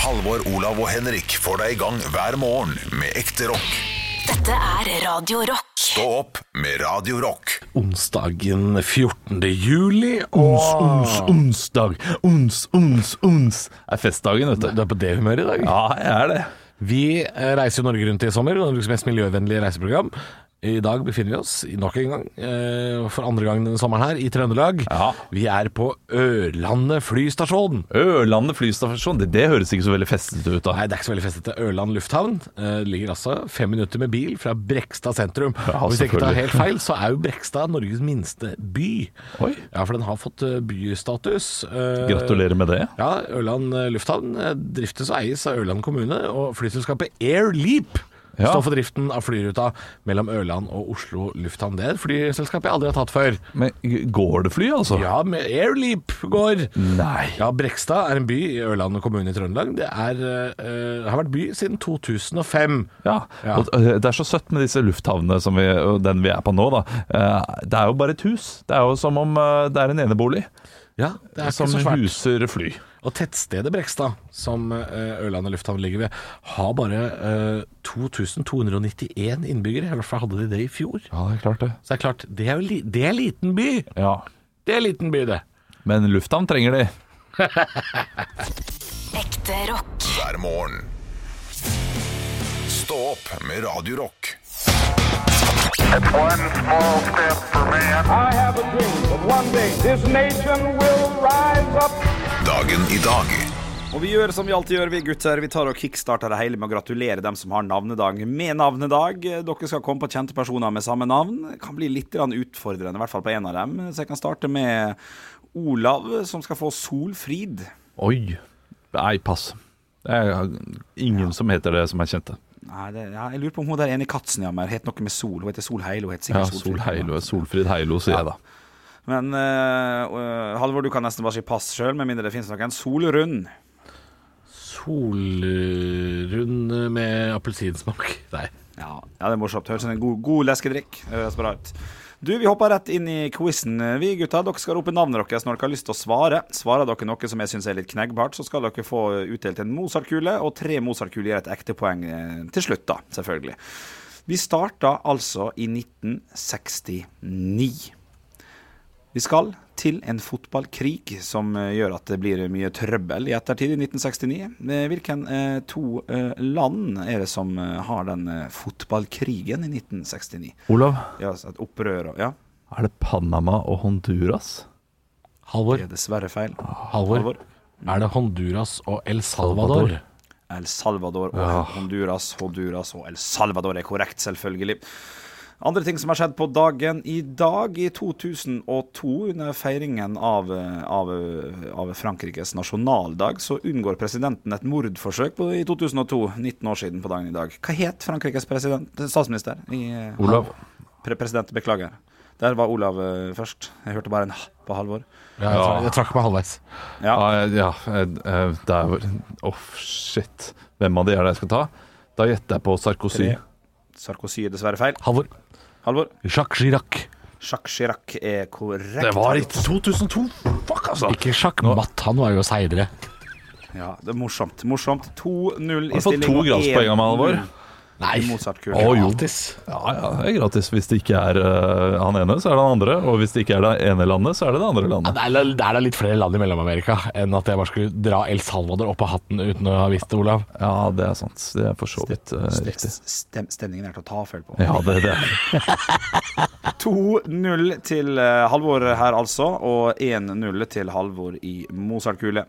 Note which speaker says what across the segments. Speaker 1: Halvor, Olav og Henrik får deg i gang hver morgen med ekte rock.
Speaker 2: Dette er Radio Rock.
Speaker 1: Stå opp med Radio Rock.
Speaker 3: onsdagen 14. juli. Og
Speaker 4: Ons, ons, onsdag. Ons, ons, ons. Det er festdagen, vet
Speaker 3: du
Speaker 4: du.
Speaker 3: er på det humøret i dag.
Speaker 4: Ja, jeg er det.
Speaker 3: Vi eh, reiser jo Norge rundt i sommer, Norges mest miljøvennlige reiseprogram. I dag befinner vi oss i nok en gang, eh, for andre gang denne sommeren her, i Trøndelag.
Speaker 4: Ja.
Speaker 3: Vi er på Ørlandet flystasjon.
Speaker 4: Ørlandet flystasjon, det, det høres ikke så veldig festete ut da.
Speaker 3: Nei, det er ikke så veldig festete. Ørland lufthavn eh, ligger altså fem minutter med bil fra Brekstad sentrum.
Speaker 4: Ja,
Speaker 3: Og Hvis jeg ikke tar
Speaker 4: selvfølgelig.
Speaker 3: helt feil, så er jo Brekstad Norges minste by.
Speaker 4: Oi.
Speaker 3: Ja, for den har fått eh, bystatus. Eh,
Speaker 4: Gratulerer med det.
Speaker 3: Ja, Ørland eh, lufthavn eh, driftes og eies av Ørland kommune, og flyselskapet Air Leap
Speaker 4: Ja.
Speaker 3: står for driften av flyruta mellom Ørland og Oslo lufthavn. Det er et flyselskap jeg aldri har tatt før.
Speaker 4: Men går det fly, altså?
Speaker 3: Ja, med Air Leap går.
Speaker 4: Nei.
Speaker 3: Ja, Brekstad er en by i Ørland kommune i Trøndelag. Det er, eh, har vært by siden 2005.
Speaker 4: Ja.
Speaker 3: Ja.
Speaker 4: og Det er så søtt med disse lufthavnene som vi, og den vi er på nå, da. Eh, Det er jo bare et hus. Det er jo som om eh, det er en enebolig
Speaker 3: Ja, det er ikke
Speaker 4: som
Speaker 3: så svært.
Speaker 4: huser fly.
Speaker 3: Og tettstedet Brekstad, som eh, Ørland lufthavn ligger ved, har bare eh, 2291 innbyggere. I hvert fall hadde de det i fjor.
Speaker 4: Ja, det er klart det.
Speaker 3: Så det er klart, det er jo li det er liten by.
Speaker 4: Ja.
Speaker 3: Det er liten by, det.
Speaker 4: Men lufthavn trenger de.
Speaker 2: Ekte rock.
Speaker 1: Hver morgen. Stå opp med Radio Rock.
Speaker 5: It's one small step for man.
Speaker 6: I have a dream that one day this nation will rise up.
Speaker 1: Dagen i dag.
Speaker 7: Og vi gjør som vi alltid gjør, vi gutter. Vi tar og kickstarter det hele med å gratulere dem som har navnedag med navnedag. eh, Dere skal komme på kjente personer med samme navn. Det kan bli litt grann utfordrende, i hvert fall på en av dem. Så jeg kan starte med Olav, som skal få Solfrid.
Speaker 4: Oi. Nei, pass. Det er eh, ingen som heter det som er kjente.
Speaker 7: Nei, det, ja, jeg lurer på om hun der ene i Katzenjammer het noe med Sol. Hun heter Sol Heilo. Hun heter
Speaker 4: Ja,
Speaker 7: sikkert
Speaker 4: Sol
Speaker 7: Solfrid.
Speaker 4: Heilo, Solfrid Heilo, sier jeg da.
Speaker 7: Men eh, øh, Halvor, du kan nesten bare si pass sjøl, med mindre det finnes noen. Solrund.
Speaker 3: Solrund med appelsinsmak. Nei.
Speaker 7: Ja, ja, det er morsomt. Høres ut som en god, god leskedrikk. Det høres bra ut. Du, Vi hopper rett inn i quizen. Vi gutta, dere skal rope navnet deres når dere har lyst til å svare. Svarer dere noe som jeg syns er litt kneggbart, så skal dere få utdelt en Mozart-kule, og tre Mozart-kuler gir et ekte poeng eh, til slutt, da, selvfølgelig. Vi starta altså i 1969. Vi skal til en fotballkrig som eh, gjør at det blir mye trøbbel i ettertid, i 1969. Eh, Hvilken eh, to eh, land er det som eh, har den eh, fotballkrigen i 1969?
Speaker 4: Olav,
Speaker 7: Ja, altså et opprør og Ja,
Speaker 4: er det Panama og Honduras?
Speaker 3: Halvor,
Speaker 7: det er dessverre feil.
Speaker 3: Halvor,
Speaker 7: Halvor.
Speaker 3: er det Honduras og El Salvador?
Speaker 7: El Salvador og Honduras. Honduras og El Salvador er korrekt, selvfølgelig. Andre ting som har skjedd på dagen i dag, i 2002, under feiringen av, av, av Frankrikes nasjonaldag, så unngår presidenten et mordforsøk på, i 2002, 19 år siden på dagen i dag. Hva het Frankrikes president, statsminister? I,
Speaker 4: Olav?
Speaker 7: Pre president, beklager. Der var Olav eh, først. Jeg hørte bare en h på Halvor.
Speaker 3: Ja, jeg, trakk, jeg trakk meg halvveis.
Speaker 7: Ja.
Speaker 4: Ja, ja eh, eh, det er vel Åh, shit. Hvem av de er det jeg skal ta? Da gjetter jeg på Sarkozy.
Speaker 7: Tre. Sarkozy er dessverre feil.
Speaker 3: Halvor,
Speaker 7: Halvor.
Speaker 3: Jacques Chirac.
Speaker 7: Jacques Chirac er korrekt.
Speaker 4: Det var ikke 2002! Fuck, altså!
Speaker 3: Ikke Jacques Matt, han var jo seigere.
Speaker 7: Ja, det er morsomt. Morsomt. 2-0 i
Speaker 4: Har du fått
Speaker 7: stilling.
Speaker 4: to
Speaker 7: og
Speaker 4: gradspoeng av meg,
Speaker 7: 1-0.
Speaker 4: Halvor?
Speaker 3: Nei.
Speaker 7: Mozart-kule.
Speaker 3: Å, jo.
Speaker 4: Ja, ja, det er gratis. Hvis det ikke er eh, han ene, så er det han andre. Og hvis det ikke er det ene landet, så er det det andre
Speaker 3: Ja,
Speaker 4: landet.
Speaker 3: Det er, det er da litt flere land i Mellom-Amerika enn at jeg bare skulle dra El Salvador opp av hatten uten å ha visst det, Olav.
Speaker 4: Ja, det er sant. Det er for så vidt eh, riktig.
Speaker 7: Stem stemningen er til å ta feil på.
Speaker 4: Ja, det, det er det.
Speaker 7: 2-0 til eh, Halvor her, altså. Og 1-0 til Halvor i Mozart-kule.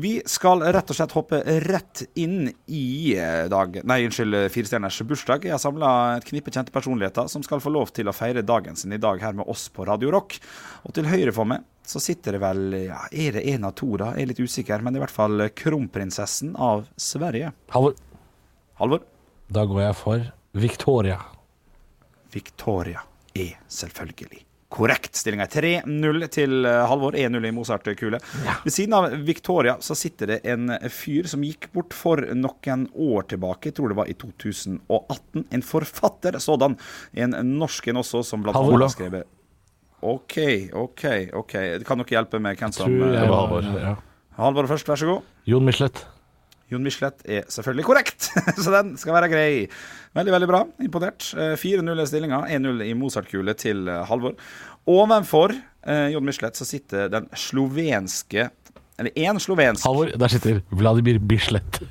Speaker 7: Vi skal rett og slett hoppe rett inn i eh, dag Nei, unnskyld, eh, firestjerners bursdag. Jeg har samla et knippe kjente personligheter som skal få lov til å feire dagen sin i dag her med oss på Radio Rock. Og til høyre for meg så sitter det vel ja, Er det en av to, da? Jeg er litt usikker, men i hvert fall kronprinsessen av Sverige.
Speaker 3: Halvor,
Speaker 7: Halvor?
Speaker 3: da går jeg for Victoria.
Speaker 7: Victoria er selvfølgelig korrekt. Stillinga er 3-0 til eh, Halvor, 1-0 i Mozart-kule. Ved siden av Victoria så sitter det en fyr som gikk bort for noen år tilbake, jeg tror det var i 2018. En forfatter sådan. En norsk en også, som blant
Speaker 3: Halvor.
Speaker 7: annet har skrevet OK, OK, OK. Kan dere hjelpe med hvem som
Speaker 3: Tror jeg
Speaker 7: eh,
Speaker 3: var- ja.
Speaker 7: Halvor først, vær så god.
Speaker 3: Jon Michelet.
Speaker 7: Jon Michelet er selvfølgelig korrekt, så den skal være grei. Veldig, veldig bra. Imponert. Eh, 4-0 i stillinga, 1-0 i Mozart-kule til eh, Halvor. Ovenfor eh, Jon Michelet så sitter den slovenske Eller én slovensk
Speaker 3: Halvor, der sitter Vladimir Bislett.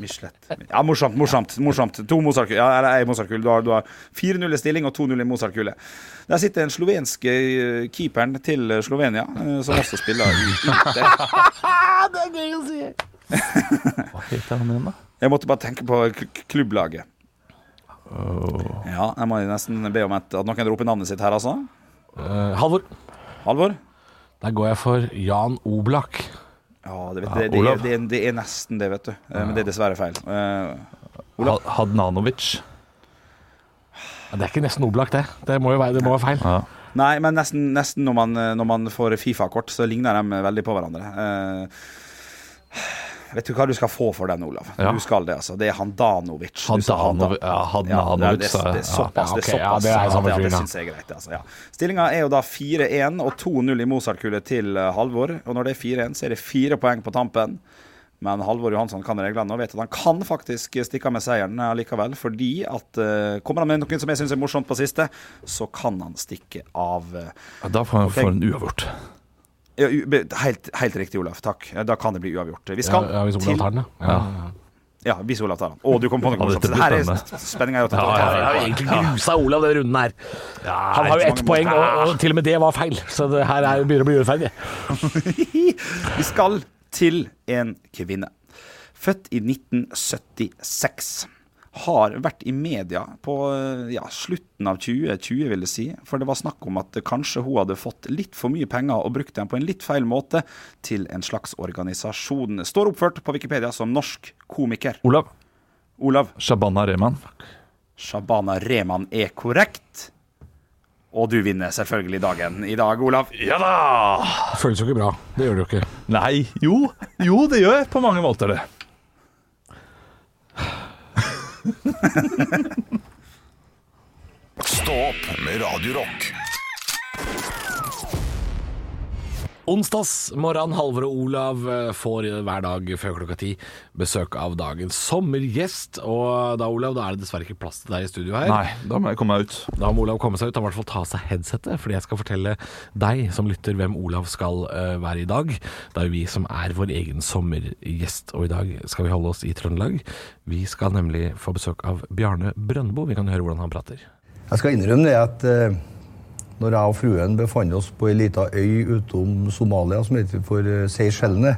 Speaker 7: Michelet. Ja, morsomt, morsomt. morsomt. To Mozart-kule. Ja, eller ei Mozart-kule. Du har, du har 4-0 i stilling og 2-0 i Mozart-kule. Der sitter den slovenske eh, keeperen til eh, Slovenia, eh, som også spiller i Inter.
Speaker 4: Hva heter han igjen, da?
Speaker 7: Jeg måtte bare tenke på k- k- klubblaget. Ja, jeg må nesten be om et, at noen roper navnet sitt her, altså.
Speaker 3: Eh, Halvor,
Speaker 7: Halvor?
Speaker 3: der går jeg for Jan Oblak.
Speaker 7: Ja, det, vet, det, det,
Speaker 4: Olav.
Speaker 7: det, det er nesten det, vet du. Eh, Men det er dessverre feil. Eh, Olav?
Speaker 4: Ha- Hadnanovic.
Speaker 3: Ja, Det er ikke nesten Oblak, det. Det må jo være, det må være feil.
Speaker 4: Ja.
Speaker 7: Nei, men nesten, nesten når, man, eh, når man får Fifa-kort, så ligner de veldig på hverandre. Eh, vet du hva du skal få for den, Olav?
Speaker 4: Ja.
Speaker 7: Du skal det, altså. Det er Handanovic. Du sa
Speaker 4: Handanovic- ja, Handanovic,
Speaker 7: Ja, det,
Speaker 4: sa
Speaker 7: er-
Speaker 4: jeg.
Speaker 7: det er såpass.
Speaker 3: Ja,
Speaker 7: Det er
Speaker 3: ok, ja,
Speaker 7: såpass.
Speaker 3: det er samme
Speaker 7: ja, det,
Speaker 3: fyren, ja.
Speaker 7: syns jeg er greit. Altså, ja. Stillinga er jo da 4-1 og 2-0 i Mozart-kule til eh, Halvor. Og når det er 4-1, så er det fire poeng på tampen. Men Halvor Johansson kan reglene og vet at han kan faktisk stikke av med seieren eh, likevel. Fordi at eh, kommer han med noen som jeg syns er morsomt på siste, så kan han stikke av. eh,
Speaker 4: Ja, Da får han får han uavgjort.
Speaker 7: ja, u- be- helt, helt riktig, Olaf. Takk. Ja, Da kan det bli uavgjort. Vi skal
Speaker 3: Ja, ja, hvis Oblak
Speaker 7: til
Speaker 3: tar den, ja. ja.
Speaker 7: Ja, hvis Olaf tar den. Å, du kom på noe
Speaker 4: Ja,
Speaker 7: morsomt.
Speaker 4: dette blir
Speaker 7: Her
Speaker 4: spennende.
Speaker 7: er spenninga. Ja,
Speaker 3: Jeg har egentlig grusa Olav den runden her. Han har jo
Speaker 7: ikke
Speaker 3: ett
Speaker 7: mange
Speaker 3: poeng,
Speaker 7: måter.
Speaker 3: og, og til og med det var feil. Så det her er, begynner å bli urettferdig.
Speaker 7: Vi skal til en kvinne. Født i 1976. Har vært i media på eh, ja, slutten av 2020, vil jeg si. For det var snakk om at kanskje hun hadde fått litt for mye penger og brukt dem på en litt feil måte til en slags organisasjon. Står oppført på Wikipedia som norsk komiker.
Speaker 4: Olav.
Speaker 7: Olav
Speaker 4: Shabana Rehman.
Speaker 7: Shabana Rehman er korrekt. Og du vinner selvfølgelig dagen i dag, Olav.
Speaker 4: Ja da!
Speaker 3: Det føles jo ikke bra. Det gjør det jo ikke.
Speaker 4: Nei, jo, jo det gjør jeg på mange måter det.
Speaker 1: Stå opp med Radio Rock.
Speaker 3: Onsdagsmorgen, Halvor og Olav eh, får eh, hver dag før klokka ti besøk av dagens sommergjest. Og da, Olav, da er det dessverre ikke plass til deg i studio her.
Speaker 4: Nei, da må jeg komme meg ut.
Speaker 3: Da må Olav komme seg ut. Han må i hvert fall ta av seg headsetet, fordi jeg skal fortelle deg som lytter hvem Olav skal eh, være i dag. Det er jo vi som er vår egen sommergjest, og i dag skal vi holde oss i Trøndelag. Vi skal nemlig få besøk av Bjarne Brøndbo. Vi kan høre hvordan han prater.
Speaker 8: Jeg skal innrømme det at eh, når jeg og fruen befant oss på ei lita øy utom Somalia som heter for eh, Seychellene,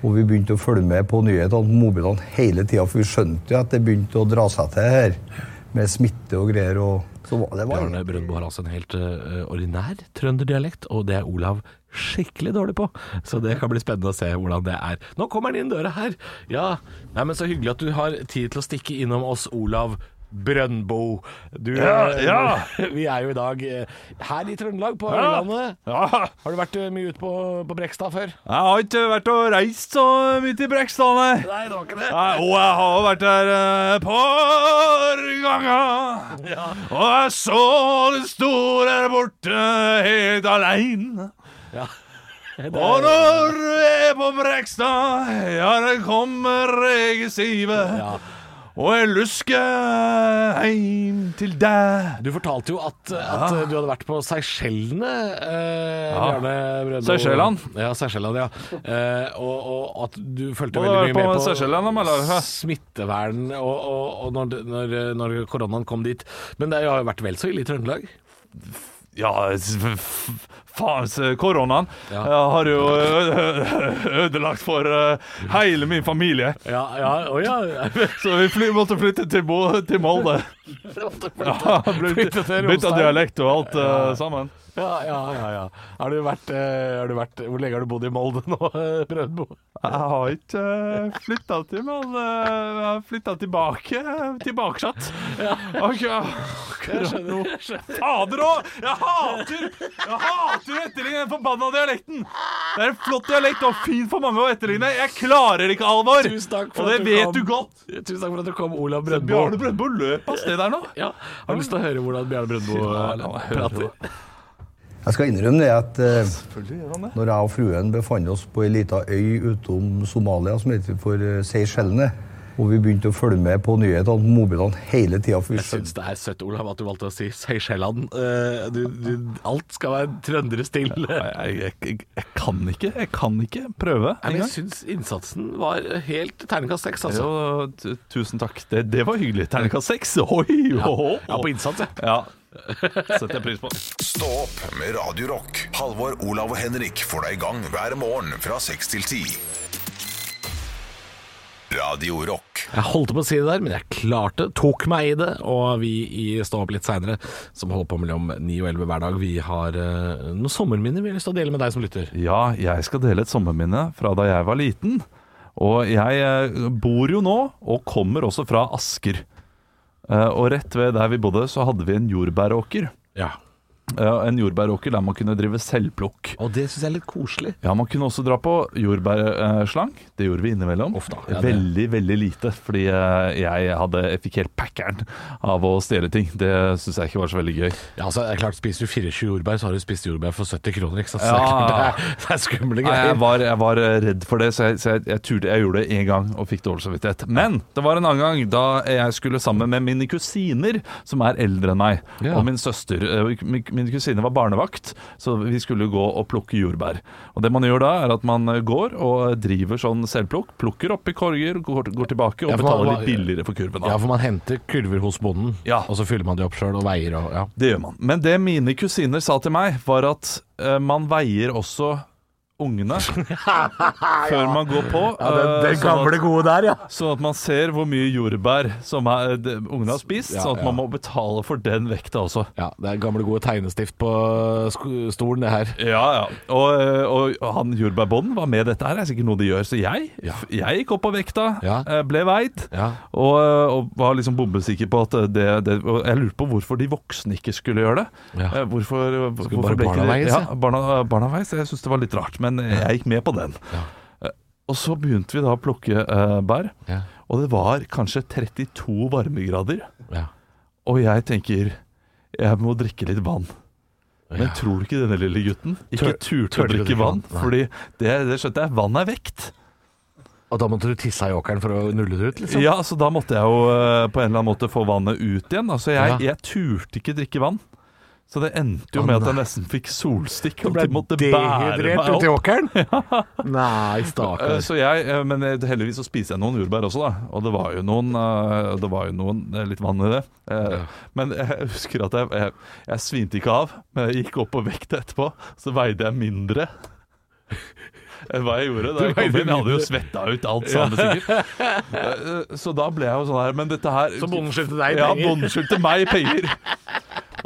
Speaker 8: og vi begynte å følge med på nyhetene på mobilene hele tida, for vi skjønte jo at det begynte å dra seg til her med smitte og greier. og så var det var
Speaker 3: Bjarne Brøndbo har altså en helt eh, ordinær trønderdialekt, og det er Olav skikkelig dårlig på. Så det kan bli spennende å se hvordan det er. Nå kommer han inn døra her! Ja, nei, men så hyggelig at du har tid til å stikke innom oss, Olav. Brøndbo. Du,
Speaker 4: Ja,
Speaker 3: eh,
Speaker 4: ja.
Speaker 3: Vi er jo i dag eh, her i Trøndelag, på
Speaker 4: Ja.
Speaker 3: Ørlandet.
Speaker 4: Ja,
Speaker 3: Har du vært eh, mye ute på, på Brekstad før?
Speaker 4: jeg har ikke vært og reist så mye til Brekstad, nei.
Speaker 3: Nei, det var ikke det.
Speaker 4: Nei, Og jeg har vært der eh, et par ganger. Og jeg så du sto der borte helt aleine. Og når du er på Brekstad, ja, det kommer regesivet.
Speaker 3: Ja.
Speaker 4: Og jeg lusker heim til deg.
Speaker 3: Du fortalte jo at, at eh, du hadde vært på Seychellene, eh,
Speaker 4: Ja.
Speaker 3: Bjarne Brøndbo.
Speaker 4: Seychellene.
Speaker 3: Ja, Seychellene, ja. Eh, og, og at du fulgte
Speaker 4: Og
Speaker 3: veldig
Speaker 4: du var
Speaker 3: mye
Speaker 4: på
Speaker 3: med på
Speaker 4: Seychellene, eller? Hæ?
Speaker 3: smittevern og, og, og når, når, når koronaen kom dit. Men det har jo vært vel så ille i Trøndelag.
Speaker 4: Ja, s- f- f- faen, s- koronaen
Speaker 3: Ja.
Speaker 4: eh, har jo ø- ø- ødelagt for eh, hele min familie.
Speaker 3: Ja, ja, å ja.
Speaker 4: Så vi fly, måtte flytte til, Bo, til Molde. Ja,
Speaker 3: Flytte til
Speaker 4: Bytta
Speaker 3: Romsdal.
Speaker 4: dialekt og alt eh, sammen.
Speaker 3: Ja, ja, ja. ja. Har du vært, eh, har du vært Hvor lenge har du bodd i Molde nå, eh, Brøndbo?
Speaker 4: Jeg har ikke uh, flytta til, men eh, jeg har flytta tilbake. Tilbakesatt. Og, ja, akkurat nå. Fader òg! Jeg hater Jeg hater å etterligne den forbanna dialekten! Det er en flott dialekt og fin for mange å etterligne. Jeg klarer ikke alvor!
Speaker 3: Tusen takk for
Speaker 4: og det
Speaker 3: at du
Speaker 4: vet
Speaker 3: kom.
Speaker 4: du godt.
Speaker 3: Tusen takk for at du kom, Olav
Speaker 4: Bjarne
Speaker 3: Brøndbo.
Speaker 4: Brøndbo løp av sted der nå.
Speaker 3: Ja, har du lyst til å høre hvordan Bjarne Brøndbo eh, prater?
Speaker 8: Jeg Jeg skal innrømme det at eh,
Speaker 4: Selvfølgelig gjør han det.
Speaker 8: når jeg og fruen befant oss på ei lita øy utom Somalia som heter for eh, Seychellene, og vi begynte å følge med på nyhetene på mobilene hele tida for vi
Speaker 3: Jeg syns
Speaker 8: skjønte-
Speaker 3: det er søtt, Olav, at du valgte å si Seychelland. Eh, du, du, alt skal være trønderes til. Nei,
Speaker 4: Jeg, jeg, jeg, jeg kan ikke. Jeg kan ikke prøve
Speaker 3: men jeg
Speaker 4: engang.
Speaker 3: syns innsatsen var helt terningkast seks, altså.
Speaker 4: Jo, t- Tusen takk. Det, det var hyggelig. Terningkast seks. Oi! ho, ho.
Speaker 3: Ja, på innsats, jeg.
Speaker 4: Ja. Setter jeg pris på.
Speaker 1: Stå opp med Radio Rock. Halvor, Olav og Henrik får deg i gang hver morgen fra 6 til 10. Radio Rock.
Speaker 3: Jeg holdt på å si det der, men jeg klarte, tok meg i det. Og vi i Stå opp litt seinere, som holder på mellom 9 og 11 hver dag, vi har eh, noen sommerminner vi har lyst til å dele med deg som lytter.
Speaker 4: Ja, jeg skal dele et sommerminne fra da jeg var liten. Og jeg eh, bor jo nå, og kommer også fra Asker. Eh, Og rett ved der vi bodde, så hadde vi en jordbæråker.
Speaker 3: Ja.
Speaker 4: Eh, En jordbæråker der man kunne drive selvplukk.
Speaker 3: Og det syns jeg er litt koselig.
Speaker 4: Ja, Man kunne også dra på jordbærslang. Det gjorde vi innimellom.
Speaker 3: Ofte, ja, det-
Speaker 4: veldig, veldig lite, fordi eh, jeg, hadde, jeg fikk helt packeren av å stjele ting. Det syns jeg ikke var så veldig gøy.
Speaker 3: Ja, altså, det er klart, Spiser du 24 jordbær, så har du spist jordbær for 70 kroner. ikke sant? Så
Speaker 4: Ja.
Speaker 3: det, er, klart, det er- det er skumle
Speaker 4: Nei, jeg
Speaker 3: greier.
Speaker 4: var, jeg var eh, redd for det, så jeg, så jeg, jeg, turte, jeg gjorde det én gang og fikk dårlig samvittighet. Men det var en annen gang da jeg skulle sammen med mine kusiner, som er eldre enn meg,
Speaker 3: Ja.
Speaker 4: og min søster. Eh, Min, min kusine var barnevakt, så vi skulle gå og plukke jordbær. Og det man gjør da, er at man eh, går og driver sånn selvplukk. Plukker opp i korger, går, går tilbake og
Speaker 3: Ja, for man-
Speaker 4: betaler
Speaker 3: man-
Speaker 4: litt billigere for kurven. da.
Speaker 3: Ja, for man henter kurver hos bonden,
Speaker 4: Ja.
Speaker 3: og så fyller man de opp sjøl og veier og ja.
Speaker 4: Det gjør man. Men det mine kusiner sa til meg, var at eh, man veier også ungene før man går på. eh, sånn at-
Speaker 3: gode der, ja.
Speaker 4: Sånn at man ser hvor mye jordbær som er, de, ungene har spist,
Speaker 3: Ja,
Speaker 4: sånn at
Speaker 3: ja.
Speaker 4: man må betale for den vekta også.
Speaker 3: Ja, Det er gamle, gode tegnestift på sk- stolen, det her.
Speaker 4: Ja, ja. Og, eh, og han jordbærbonden var med dette her, det er sikkert noe de gjør. Så jeg,
Speaker 3: Ja.
Speaker 4: f- jeg gikk opp på vekta,
Speaker 3: Ja.
Speaker 4: eh, ble veid,
Speaker 3: Ja.
Speaker 4: og, eh, og var liksom bombesikker på at det, det Og jeg lurte på hvorfor de voksne ikke skulle gjøre det.
Speaker 3: Ja.
Speaker 4: Eh, Hvorfor, hvorfor
Speaker 3: bare barna
Speaker 4: de-
Speaker 3: veies,
Speaker 4: Ja,
Speaker 3: ja?
Speaker 4: barna, eh, barna veies. Jeg syns det var litt rart, men jeg gikk med på den. Eh, Og så begynte vi da å plukke eh, bær,
Speaker 3: Ja.
Speaker 4: og det var kanskje 32 varmegrader.
Speaker 3: Ja.
Speaker 4: Og jeg tenker Jeg må drikke litt vann. Men
Speaker 3: Ja.
Speaker 4: tror du ikke denne lille gutten ikke
Speaker 3: Tør-
Speaker 4: turte å
Speaker 3: tørte
Speaker 4: drikke vann?
Speaker 3: Nei.
Speaker 4: Fordi det, det skjønte jeg, vann er vekt.
Speaker 3: Og da måtte du tisse i åkeren for å nulle det ut, liksom?
Speaker 4: Ja, så da måtte jeg jo eh, på en eller annen måte få vannet ut igjen. Altså, jeg,
Speaker 3: Ja.
Speaker 4: jeg turte ikke drikke vann. Så det endte jo
Speaker 3: Å,
Speaker 4: med at
Speaker 3: nei.
Speaker 4: jeg nesten fikk solstikk.
Speaker 3: Du
Speaker 4: Og
Speaker 3: ble
Speaker 4: de måtte bære
Speaker 3: dehydrert
Speaker 4: meg
Speaker 3: ute i
Speaker 4: opp.
Speaker 3: åkeren? Nei,
Speaker 4: Eh,
Speaker 3: stakkar.
Speaker 4: Så jeg, eh, men eh, heldigvis så spiste jeg noen jordbær også, da. Og det var jo noen, eh, det var jo noen eh, litt vann i det. Eh, Men jeg husker at jeg, jeg, jeg svimte ikke av, men jeg gikk opp på vekta etterpå. Så veide jeg mindre enn hva jeg gjorde. Da jeg, kom
Speaker 3: veide
Speaker 4: inn, jeg hadde jo svetta ut alt sammen, sikkert. Eh, Så da ble jeg jo sånn her Men dette her
Speaker 3: Så bonden skyldte deg
Speaker 4: Ja,
Speaker 3: penger?
Speaker 4: bonden skyldte meg penger.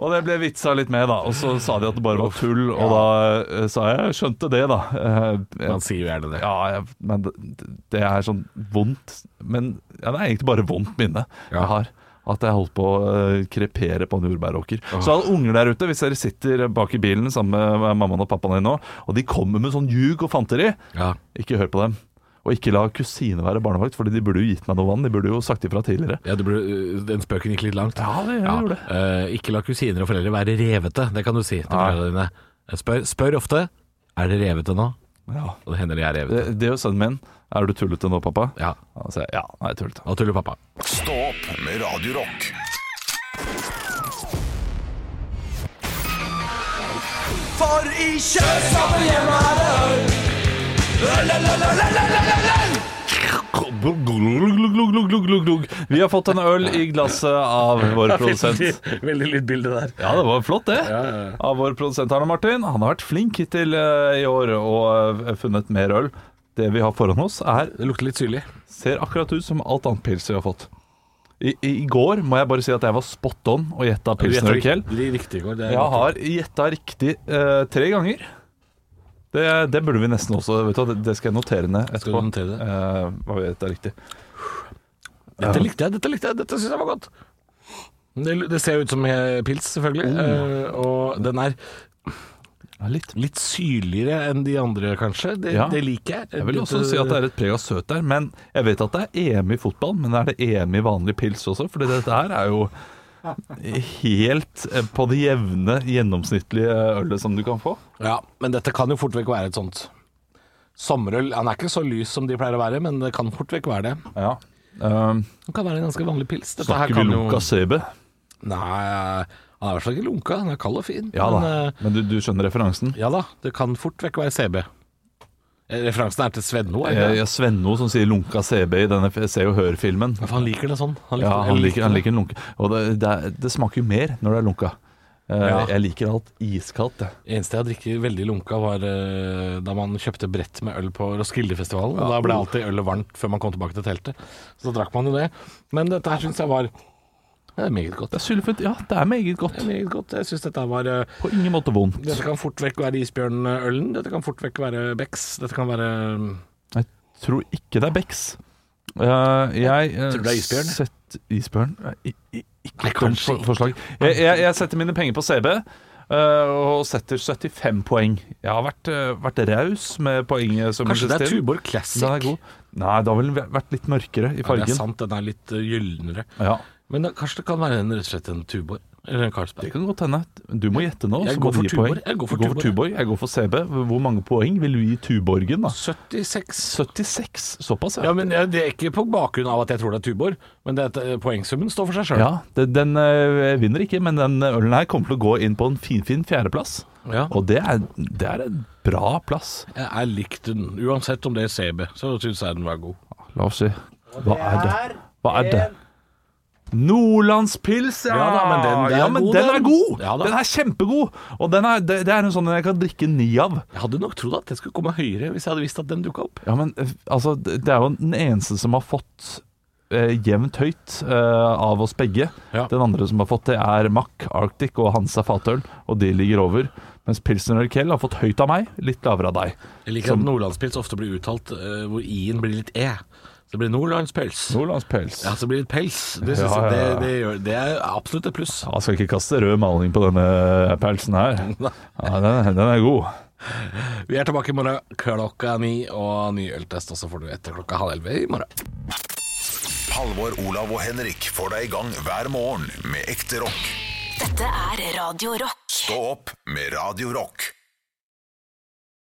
Speaker 4: Og det ble vitsa litt med, da. Og så sa de at det bare var tull, og da eh, sa jeg jeg skjønte det, da. Eh,
Speaker 3: Man sier jo gjerne det.
Speaker 4: ja, jeg, men det, det er sånn vondt Men ja, det er egentlig bare vondt minne
Speaker 3: Ja.
Speaker 4: jeg har. At jeg holdt på å eh, krepere på en jordbæråker. Så alle unger der ute, hvis dere sitter bak i bilen sammen med mammaen og pappaen din nå, og de kommer med sånn ljug og fanteri,
Speaker 3: Ja.
Speaker 4: ikke hør på dem. Og ikke la kusine være barnevakt, Fordi de burde jo gitt meg noe vann. De burde jo sagt ifra tidligere.
Speaker 3: Ja, det ble, øh, Den spøken gikk litt langt.
Speaker 4: Ja, det- jeg gjorde det.
Speaker 3: eh, ikke la kusiner og foreldre være revete, det kan du si til
Speaker 4: Nei.
Speaker 3: foreldrene dine. Eh, Spør, spør ofte er dere revete nå.
Speaker 4: Ja.
Speaker 3: Og det hender de er
Speaker 4: Det,
Speaker 3: revete.
Speaker 4: det er jo sønnen min. Er du tullete nå, pappa?
Speaker 3: Ja,
Speaker 4: Altså, ja, nei, tullete.
Speaker 3: Nå tuller pappa.
Speaker 1: Stå opp med Radio Rock.
Speaker 4: Vi har fått en øl i glasset av vår produsent.
Speaker 3: Veldig lydbilde der.
Speaker 4: Ja, det var flott det.
Speaker 3: ja, ja.
Speaker 4: Av vår produsent Arne Martin. Han har vært flink hittil eh, i år og eh, funnet mer øl. Det vi har foran oss, er,
Speaker 3: Det lukter litt syrlig.
Speaker 4: ser akkurat ut som alt annet pils vi har fått. I, I i går må jeg bare si at jeg var spot on og gjetta Pilsner og Kell.
Speaker 3: Riktig i går. Det er
Speaker 4: Jeg
Speaker 3: godt.
Speaker 4: har gjetta riktig eh, tre ganger. Det, det burde vi nesten også vet du, hva, Det det skal jeg notere ned etterpå.
Speaker 3: du notere det?
Speaker 4: Eh, hva vi gjetta riktig.
Speaker 3: Dette likte jeg, dette likte jeg, dette syns jeg var godt. Det, det ser jo ut som eh, pils, selvfølgelig.
Speaker 4: Oh.
Speaker 3: eh, og den er
Speaker 4: Ja, litt.
Speaker 3: litt syrligere enn de andre, kanskje. Det,
Speaker 4: Ja.
Speaker 3: det liker jeg.
Speaker 4: Jeg vil også si at det er et preg av søt der, men jeg vet at det er EM i fotball, men er det EM i vanlig pils også? Fordi dette her er jo helt eh, på det jevne, gjennomsnittlige ølet som du kan få.
Speaker 3: Ja, men dette kan jo fort vekk være et sånt sommerøl. Han er ikke så lys som de pleier å være, men det kan fort vekk være det.
Speaker 4: Ja. Um,
Speaker 3: Det kan være en ganske vanlig pils. Dette her
Speaker 4: snakker vi
Speaker 3: kan jo
Speaker 4: Lucas Sebe?
Speaker 3: Nei, han er i hvert fall ikke lunka. Han er kald og fin.
Speaker 4: Ja da.
Speaker 3: men, eh,
Speaker 4: Men du, du skjønner referansen?
Speaker 3: ja da, det kan fort vekk være CB. Eh, Referansen er til Svenno. er det
Speaker 4: Jeg,
Speaker 3: det?
Speaker 4: jeg Eh, Svenno som sier 'lunka CB' i denne f- Se og Hør-filmen.
Speaker 3: Ja, for han liker det sånn. Han liker,
Speaker 4: Ja, han
Speaker 3: eller
Speaker 4: liker, han
Speaker 3: det.
Speaker 4: liker en lunke. Og det, det, er, det smaker jo mer når det er lunka. Eh,
Speaker 3: Ja.
Speaker 4: Jeg liker alt iskaldt, jeg.
Speaker 3: Eneste jeg drikker veldig lunka, var eh, da man kjøpte brett med øl på Roskildefestivalen. og Da ble alltid ølet varmt før man kom tilbake til teltet. Så da drakk man jo det. Men dette her syns jeg var det er meget godt.
Speaker 4: Det er sylfett. Ja, det er meget godt.
Speaker 3: Det er meget godt. Jeg syns dette her var eh,
Speaker 4: På ingen måte vondt.
Speaker 3: Dette kan fort vekk være isbjørnølen. Dette kan fort vekk være Becks. Dette kan være mm,
Speaker 4: Jeg tror ikke det er Becks. Eh, jeg eh,
Speaker 3: Tror du det er isbjørn?
Speaker 4: Sett, isbjørn? Eh, i- i- Ikke et dumt
Speaker 3: kanskje
Speaker 4: for- forslag. Jeg, jeg, jeg setter mine penger på CB. eh, og setter 75 poeng. Jeg har vært, eh, vært raus med poenget. som
Speaker 3: Kanskje det er
Speaker 4: Kristin.
Speaker 3: Tuborg Classic?
Speaker 4: Den er god. Nei, da ville den vært litt mørkere i
Speaker 3: Ja, det er
Speaker 4: fargen.
Speaker 3: sant, den er litt eh, gylnere.
Speaker 4: Ja,
Speaker 3: Men da, kanskje det kan være en, rett og slett en Tuborg? Eller en
Speaker 4: det
Speaker 3: Carlsberg?
Speaker 4: kan godt hende. Du må gjette nå.
Speaker 3: Jeg
Speaker 4: så
Speaker 3: går
Speaker 4: må
Speaker 3: for
Speaker 4: du gi
Speaker 3: Tuborg.
Speaker 4: poeng.
Speaker 3: Jeg går for
Speaker 4: Du går for
Speaker 3: Tuborg.
Speaker 4: Tuborg. Jeg går for CB. Hvor mange poeng vil du gi Tuborgen, da?
Speaker 3: 76.
Speaker 4: 76. Såpass,
Speaker 3: Ja, men eh, Det er ikke på bakgrunn av at jeg tror det er Tuborg, men det, er at, eh, poengsummen står for seg sjøl.
Speaker 4: Ja, det- den eh, vinner ikke, men den ølen her kommer til å gå inn på en finfin fin fjerdeplass.
Speaker 3: Ja.
Speaker 4: Og det er, det er en bra plass.
Speaker 3: Jeg likte den. Uansett om det er CB, så syns jeg den var god.
Speaker 4: La oss si. Hva er det? Hva er det? Nordlandspils, ja!
Speaker 3: Ja da, men den- den
Speaker 4: ja,
Speaker 3: er
Speaker 4: men
Speaker 3: god,
Speaker 4: den
Speaker 3: den.
Speaker 4: er god!
Speaker 3: Ja da.
Speaker 4: den er kjempegod! Og den er, det, det er en sånn jeg kan drikke ni av.
Speaker 3: Jeg hadde nok trodd at det skulle komme høyere hvis jeg hadde visst at den dukka opp.
Speaker 4: Ja, men eh, altså, det det er jo den eneste som har fått eh, jevnt høyt eh, av oss begge.
Speaker 3: Ja.
Speaker 4: Den andre som har fått det, er Mack, Arctic og Hansa Fatøl, og de ligger over. Mens Pilsner og Kell har fått høyt av meg, litt lavere av deg.
Speaker 3: Jeg liker at nordlandspils ofte blir uttalt eh, hvor i-en blir litt e. Så det blir nordlandspils.
Speaker 4: Nordlandspils.
Speaker 3: Ja,
Speaker 4: Ja.
Speaker 3: så blir det pels. Det, synes
Speaker 4: Ja, ja, ja.
Speaker 3: jeg, det, det, gjør, det er absolutt et pluss.
Speaker 4: Jeg skal ikke kaste rød maling på denne eh, pelsen her. Ja, den, den er god.
Speaker 3: Vi er tilbake i morgen klokka ni, og ny øltest også får du etter klokka halv elleve i morgen.
Speaker 1: Halvor, Olav og Henrik får deg i gang hver morgen med ekte rock.
Speaker 2: Dette er Radio Rock.
Speaker 1: Stå opp med Radio Rock.